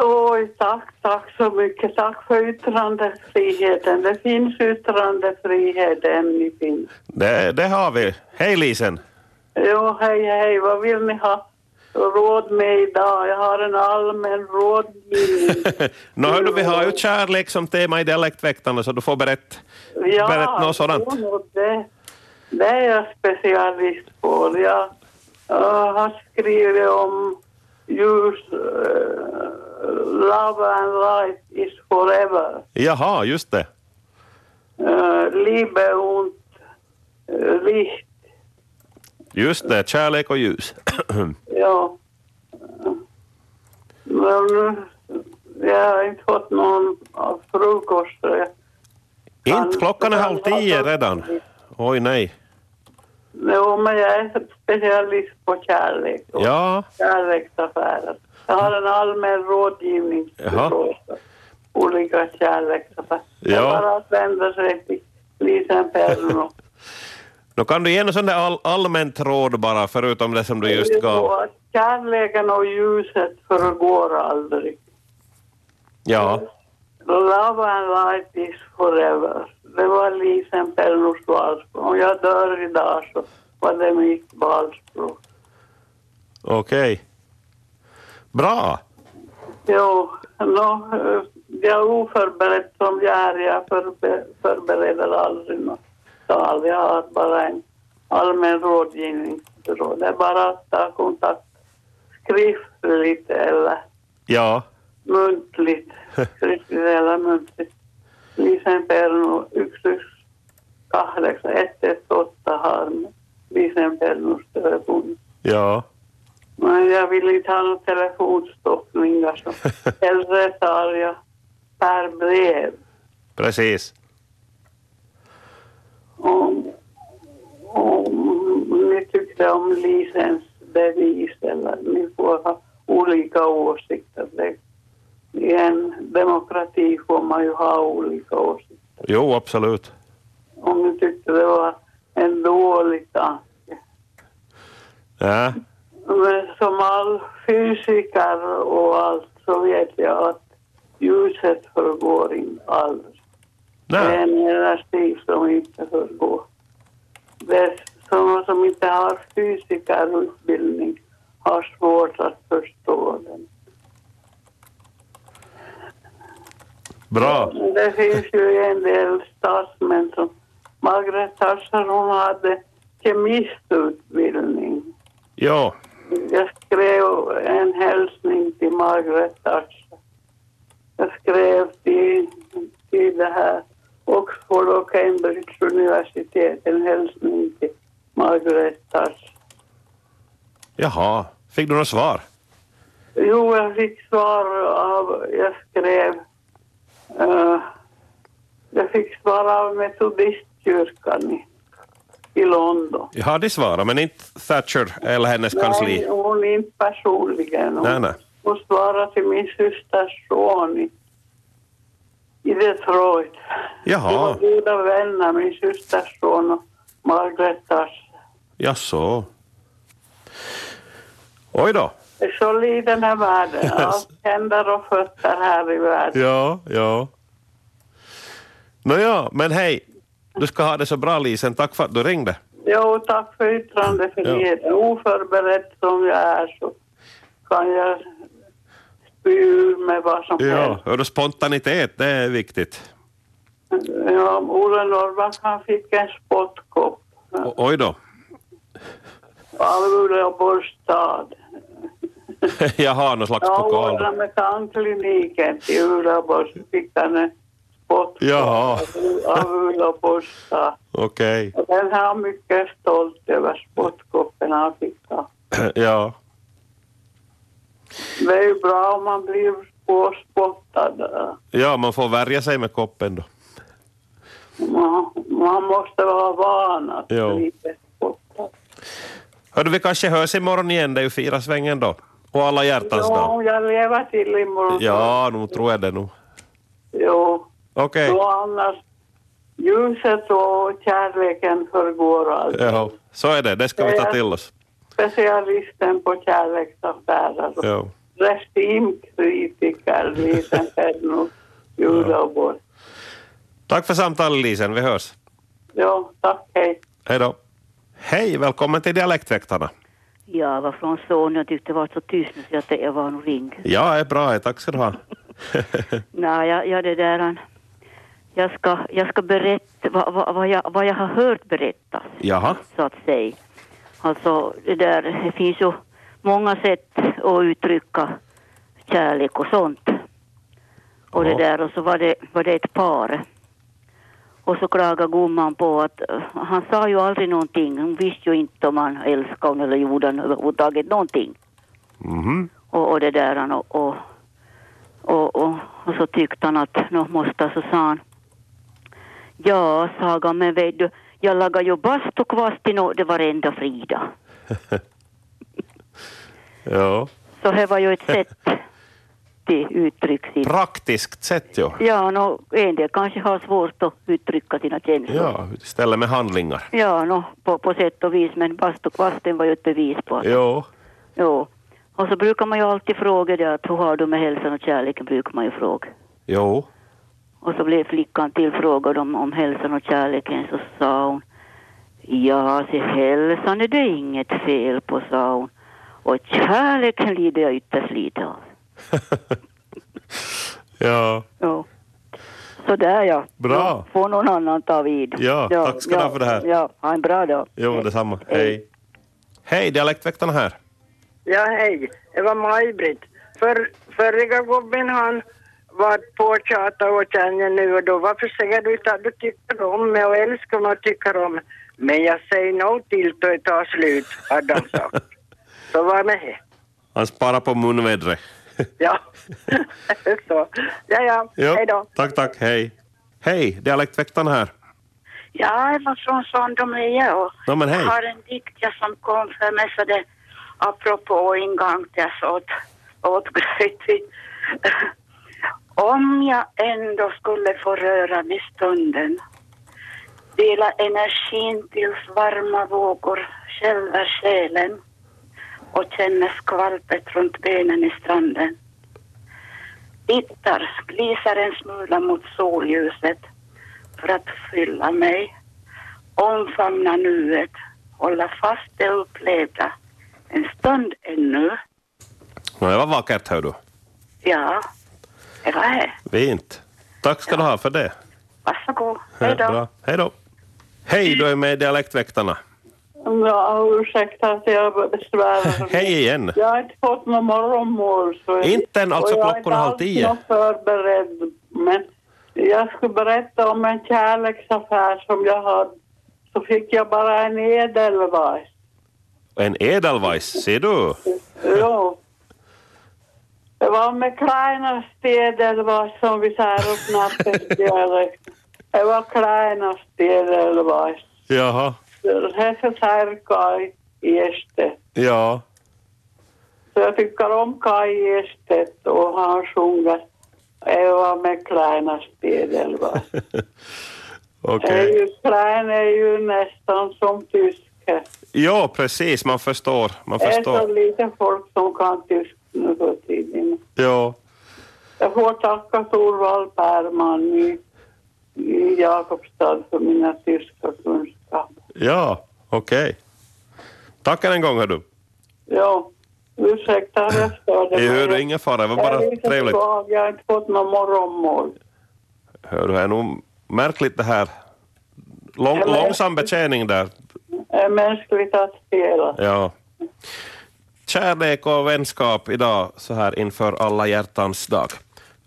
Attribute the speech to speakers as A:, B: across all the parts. A: Oj, tack, tack så mycket. Tack för yttrandefriheten. Det finns yttrandefrihet än i Finland.
B: Det, det har vi. Hej Lisen!
A: Jo, hej, hej. Vad vill ni ha råd med idag? Jag har en allmän rådgivning.
B: Nå hördu, vi har ju kärlek som tema i Dialektväktarna så du får berätta berätt något sådant.
A: jo, nog det, det är jag specialist på. Jag eh, har skrivit om just eh, Love and Life is Forever.
B: Jaha, just det.
A: Eh, Liebe und eh, Licht.
B: Just det, kärlek och ljus.
A: Ja. Men nu, jag har inte fått någon av frukost.
B: Inte klockan är halv tio redan. Oj nej.
A: Jo, men jag är specialist på kärlek och
B: Ja,
A: kärleksaffärer. Jag har en allmän rådgivning
B: Jaha.
A: olika kärleksaffärer.
B: Ja.
A: Jag bara att vända sig till Lisen Perno.
B: då kan du ge någon sån där all, allmänt råd bara förutom det som du
A: Det är ju
B: just
A: så
B: gav.
A: att Kärleken och ljuset förgår aldrig.
B: Ja,
A: Love and life is forever. Det var Lisen Pernos valspråk. Om jag dör idag så var det mitt valspråk.
B: okej. Bra.
A: Jo, no, eh, jag är oförberedd som jag är. Jag förbe- förbereder aldrig något tal. Jag har bara en allmän rådgivningsråd. Det är bara att ta kontakt skriftligt eller
B: Ja,
A: muntligt. Skriftligt eller muntligt. Lisen Pernu 118 har Lisen Pernus telefon.
B: ja.
A: Men jag vill inte ha någon telefonstoppning. Alltså. Hellre tar jag per brev.
B: Precis.
A: Om, om ni tyckte om Lisens bevis eller ni får ha olika åsikter. Det, I en demokrati får man ju ha olika åsikter.
B: Jo, absolut.
A: Om ni tyckte det var en dålig tanke.
B: Ja,
A: Men som all fysiker och allt så vet jag att ljuset förgår inte alls. Det är
B: nej.
A: en energi som inte förgår. Det är sådana som inte har fysikerutbildning har svårt att förstå den.
B: Bra.
A: Men Det finns ju en del statsmän som Margaret Thatcher hon hade kemistutbildning.
B: Jo,
A: Jag skrev en hälsning till Margaret Thatcher. Jag skrev till, till det här Oxford och Cambridge universitet en hälsning till Margaret Thatcher.
B: jaha. Fick du något svar?
A: Jo, jag fick svar av, jag skrev, eh, jag fick svar av metodistkyrkan i, i London.
B: Jag hade svarat, men inte Thatcher eller hennes
A: Nej,
B: kansli.
A: hon inte personligen. Hon,
B: Nej, nej.
A: hon svarade till min systers son i, i Detroit. Vi
B: Jaha,
A: var goda vänner, min systers son och Margaret Thatcher.
B: jaså. Oj då.
A: Det är så liten är världen. Allt händer och fötter här i världen.
B: Ja, ja. Nåja, men hej. Du ska ha det så bra, Lisen. Tack för att du ringde.
A: Jo, tack för yttrandefriheten. Oförberedd som jag är så kan jag spy ur med vad som helst.
B: Ja, och då spontanitet, det är viktigt.
A: Ja, Olle Norrback han fick en spottkopp.
B: O- oj då.
A: av Uleåborgs stad.
B: Jag har någon slags
A: Jag
B: pokal.
A: ordnade med tandkliniken till Uleåborgs. Fick han en spott
B: Jaha.
A: av Uleåborgs stad.
B: Okej.
A: Och den här är mycket stolt över spottkoppen han fick. ta.
B: Ja.
A: Det är ju bra om man blir påspottad.
B: ja, man får värja sig med koppen då.
A: Man, man måste vara van att
B: Jo.
A: bli bespottad.
B: Hördu, vi kanske hörs imorgon igen. Det är ju fira svängen då. Och alla hjärtans
A: Jo,
B: dag.
A: om jag lever till imorgon.
B: Ja, nu tror jag det nog.
A: Jo.
B: Okej.
A: Så annars, ljuset och kärleken förgår aldrig.
B: Ja, så är det. Det ska vi ta till oss.
A: specialisten på kärleksaffärer.
B: Ja.
A: Regimkritiker, Lisen Ferdinand Djurgården.
B: Tack för samtalet Lisen, vi hörs.
A: Jo, tack, hej.
B: Hej då. Hej, välkommen till Dialektväktarna.
C: Ja, var från son. Jag tyckte det var så tyst nu så jag, tänkte jag var nog ring.
B: Ja, är bra, tack ska du ha.
C: Nej, jag, jag det där... han- Jag ska, jag ska berätta vad, vad, vad, jag, vad jag har hört berättas,
B: Jaha,
C: så att säga. Alltså, det där, det finns ju många sätt att uttrycka kärlek och sånt. Och det
B: Ja.
C: där, och så var det, var det ett par. Och så klagade gumman på att eh, han sa ju aldrig någonting. Hon visste ju inte om han älskade honom eller gjorde han överhuvudtaget någonting.
B: mhm.
C: Och, och det där han och, och, och, och, och så tyckte han att nå måste så sa han. Ja, Saga, men vet du, jag lagar ju bastukvast till nå det varenda frida.
B: ja.
C: Så det var ju ett sätt till uttryck sin.
B: Praktiskt sett ju.
C: Ja, nå en del kanske har svårt att uttrycga sina känslor.
B: Ja, istället med handlingar.
C: Ja, nå på, på sätt och vis, men bastukvasten var ju ett bevis på att,
B: Jo,
C: jo. Och så brukar man ju alltid fråga det att hur har du med hälsan och kärleken, brukar man ju fråga.
B: jo.
C: Och så blev flickan tillfrågad om, om hälsan och kärleken så sa hon Ja, se hälsan är det inget fel på, sa hon. Och kärleken lider jag ytterst lite av.
B: ja.
C: Ja. Så där ja.
B: Bra.
C: Ja, Får någon annan ta vid.
B: Ja, tack ska du ha för det här.
C: Ja, ha en bra dag.
B: Jo,
C: Hej.
B: detsamma. Hej. Hej, Dialektväktarna här.
D: Ja, hej. Det var Maj-Britt. För, förra gubben han var på och tjatade åt henne nu och då. Varför säger du inte att du tycker om mig och älskar mig och tycker om mig? Men jag säger no till då det tar slut, hade han sagt. Så var med det.
B: Han sparar på munvädret.
D: Ja. Så. Ja, ja.
B: Jo,
D: Hej då.
B: Tack, tack. Hej. Hej, Dialektväktarna här.
E: Ja, jag var från San Domingo och
B: Ja, men hej.
E: jag har en dikt jag som kom för mig så det apropå ingång till jag så åt, åt gröt. Om jag ändå skulle få röra vid stunden dela energin tills varma vågor skälver själen och känner skvalpet runt benen i stranden. Bitter glisar en smula mot solljuset för att fylla mig. Omfamna nuet, hålla fast det upplevda en stund ännu.
B: Nå, det var vackert, hör du.
E: Ja, det var det.
B: Fint. Tack ska du ha för det.
E: Varsågod. Hej då.
B: Bra. Hej då. Hej, du är med i Dialektväktarna.
A: Ja, ursäkta att jag besvärar.
B: Hej igen.
A: Jag har inte fått någon morgonmål. Så
B: Inte än, alltså
A: och jag är
B: klockan är halv tio.
A: inte alls något förberedd. Men jag skulle berätta om en kärleksaffär som jag hade. Så fick jag bara en edelweiss.
B: En edelweiss, ser du.
A: Jo. Det var med kleinast edelweiss som vi säger upp nattdialekten. Det var kleinast edelweiss.
B: Jaha.
A: Hesse Särkai i Estet.
B: Ja.
A: Så jag tycker om Kai Estedt och han sjunger Eva med Kleinas spegelvall.
B: Okej.
A: Okay. Klein är ju nästan som tyske.
B: Ja, precis. Man förstår. Man
A: Det är så
B: förstår.
A: lite folk som kan tysk nu för tiden.
B: Ja.
A: Jag får tacka Torvald Bergman i, i Jakobstad för mina tyska kunskaper.
B: Ja, okej. Tack än en gång, hör du.
A: Ja, ursäkta att jag störde
B: Jag hör
A: Jag-
B: du ingen fara. Det var
A: jag är
B: bara
A: lite
B: trevligt.
A: svag. Jag har inte fått någon morgonmål.
B: Hör du, det är nog märkligt det här. Lång,
A: Eller-
B: långsam betjäning där.
A: Det är mänskligt att spela.
B: Ja. Kärlek och vänskap idag så här inför alla hjärtans dag.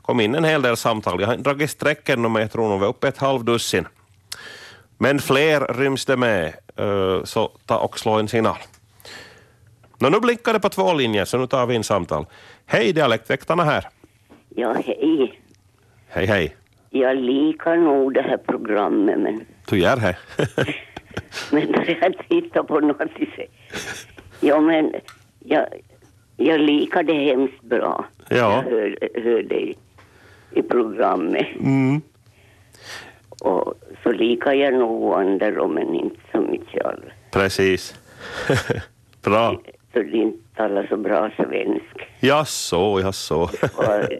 B: kom in en hel del samtal. Jag har inte dragit strecken nu, men jag tror nog vi är uppe ett halvdussin. Men fler ryms det med, eh, så ta och slå en signal. Nå, nu blinkar det på två linjer, så nu tar vi in samtal. Hej, Dialektväktarna här.
F: Ja, hej.
B: Hej, hej.
F: Jag likar nog det här programmet, men,
B: Du gör det.
F: men när jag tittar på något så säger Ja, men jag, jag likar det hemskt bra.
B: Ja.
F: Jag hör, hör dig i programmet.
B: Mm.
F: Och så likar jag nog andra, men inte så mycket alls.
B: Precis. Bra.
F: För det är inte alla så bra svensk.
B: Jaså, jaså.
F: Och det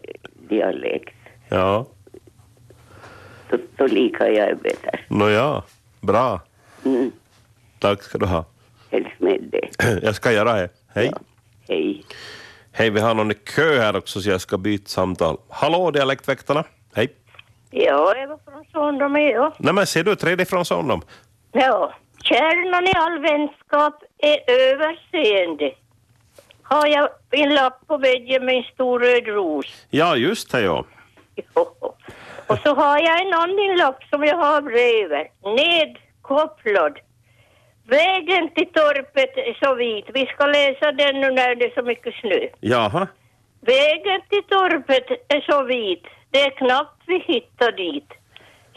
F: dialekt.
B: Ja.
F: Då, då likar jag bättre.
B: Nåja, bra.
F: Mm.
B: Tack ska du ha.
F: Helst med det.
B: Jag ska göra det. Hej.
F: Hej.
B: Hej, vi har någon i kö här också så jag ska byta samtal. Hallå, Dialektväktarna. Hej.
G: Ja, jag var från Sondom jag.
B: Nej men ser du, tredje från Sondom.
G: Ja, kärnan i all vänskap är överseende. Har jag en lapp på väggen med en stor röd ros?
B: Ja, just det ja.
G: Jo. Och så har jag en annan lapp som jag har bredvid. Nedkopplad. Vägen till torpet är så vit. Vi ska läsa den nu när det är så mycket snö.
B: Jaha.
G: Vägen till torpet är så vit, det är knappt vi hittar dit.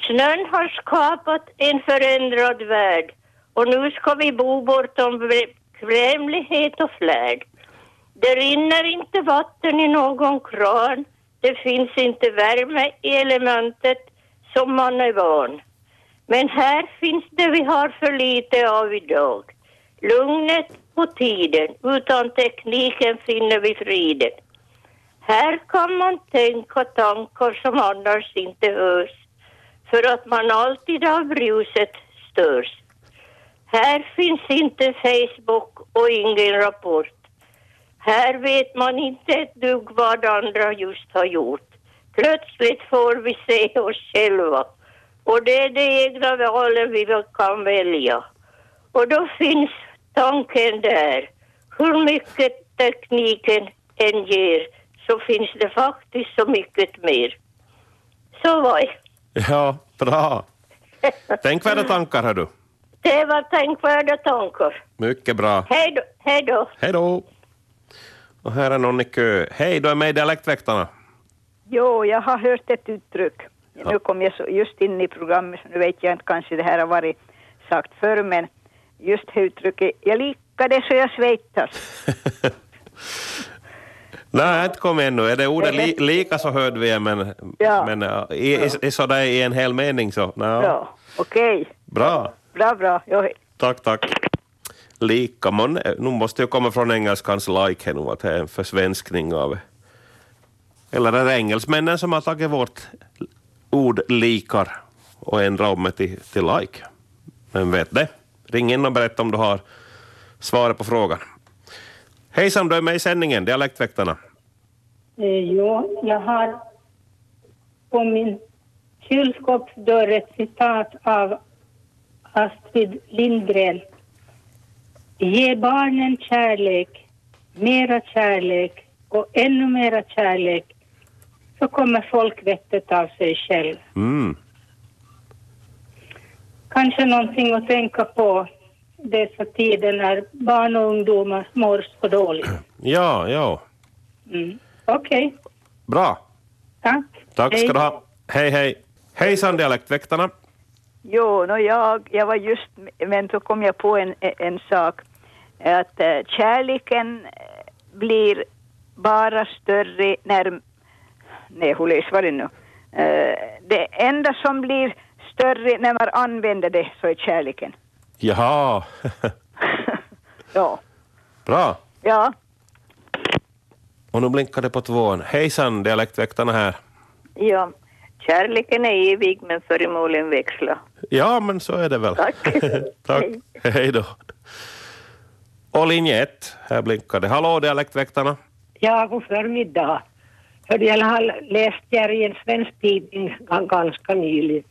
G: Snön har skapat en förändrad värld och nu ska vi bo bortom bekvämlighet och flärd. Det rinner inte vatten i någon kran, det finns inte värme i elementet som man är van. Men här finns det vi har för lite av idag. Lugnet på tiden, utan tekniken finner vi friden. Här kan man tänka tankar som annars inte hörs, för att man alltid av bruset störs. Här finns inte Facebook och ingen rapport. Här vet man inte ett dugg vad andra just har gjort. Plötsligt får vi se oss själva och det är de egna valen vi väl kan välja. Och då finns tanken där. Hur mycket tekniken än ger så finns det faktiskt så mycket mer. Så var det.
B: Ja, bra. Tänkvärda tankar hör du.
G: Det var tänkvärda tankar.
B: Mycket bra.
G: Hej då. Hej då.
B: Hej då. Och här är någon i kö. Hej, du är med i Dialektväktarna.
H: Jo, jag har hört ett uttryck. Nu kom jag så just in i programmet, så nu vet jag inte kanske det här har varit sagt förr, men just det uttrycket, jag likade så jag svettas.
B: Nej, inte kom ännu. Är det ordet li, lika så hörde vi det, men,
H: Ja.
B: men äh, i, i, i, sådär i en hel mening så.
H: Ja.
B: Nja.
H: Okej,
B: Bra.
H: bra, bra. Jo,
B: Tack, tack. Lika. Man, nu måste jag komma från engelskans like nu, att det är en försvenskning av... Eller är det engelsmännen som har tagit vårt ord likar och ändrat om det till, till like? Vem vet det? Ring in och berätta om du har svaret på frågan. Hejsan, du är med i sändningen, Dialektväktarna.
I: Eh, Jo, jag har på min kylskåpsdörr ett citat av Astrid Lindgren. Ge barnen kärlek, mera kärlek och ännu mera kärlek så kommer folkvettet av sig själv.
B: Mm.
I: Kanske någonting att tänka på dessa tider när barn och ungdomar mår så dåligt.
B: Ja, ja.
I: Mm. Okej,
B: Bra.
I: tack.
B: Tack
H: Hej.
B: ska du ha. Hej, hej. Hejsan, Dialektväktarna.
H: jo no, jag, jag var just, men så kom jag på en, en sak. Att eh, kärleken eh, blir bara större när... Nej, hur läs var det nu? Eh, det enda som blir större när man använder det så är kärleken.
B: Jaha.
H: Ja.
B: Bra.
H: Ja,
B: Och nu blinkar det på tvåan. Hejsan, dialektväktarna här.
J: Ja, kärleken är evig men föremålen växlar.
B: Ja, men så är det väl. Tack. Tack. Hej då. Och linje ett, här blinkar det. Hallå, dialektväktarna.
K: Ja, god förmiddag. Hörde jag har läst här i en svensk tidning gan- ganska nyligen,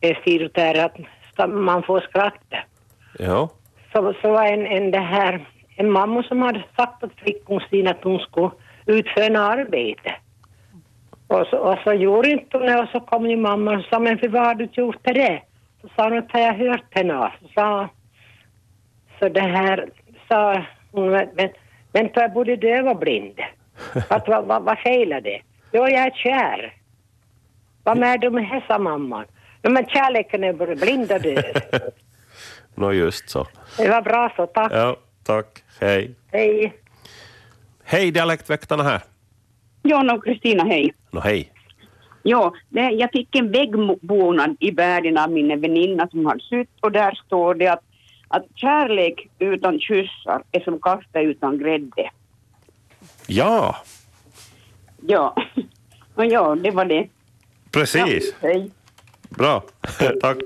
K: eh, stil där att ska man får skratta.
B: Ja.
K: Så, så var en, en, det här, en mamma som hade sagt åt flickan sin att hon skulle utföra arbete. Och så, och så gjorde inte hon det och så kom ju mamman och sa men för vad har du gjort till det? Så sa hon att har jag hört henne. av?" Så sa så det här sa hon men, men, men för jag både döv och blind. Att, vad, vad, vad felar det? Jo, jag är kär. Vad med det med det, sa mamman. "Ja, Men kärleken är både blind och döv.
B: Nå, just så.
K: Det var bra så, tack.
B: Ja, tack. Hej.
K: Hej.
B: Hej, dialektväktarna här.
L: Jonna och Kristina, hej.
B: Nå, hej.
L: Ja, det, jag fick en väggbonad i världen av min väninna som hade sytt och där står det att, att kärlek utan kyssar är som kaffe utan grädde.
B: Ja.
L: Ja,
H: Nå ja, det var det.
B: Precis.
H: Ja, hej.
B: Bra. Tack.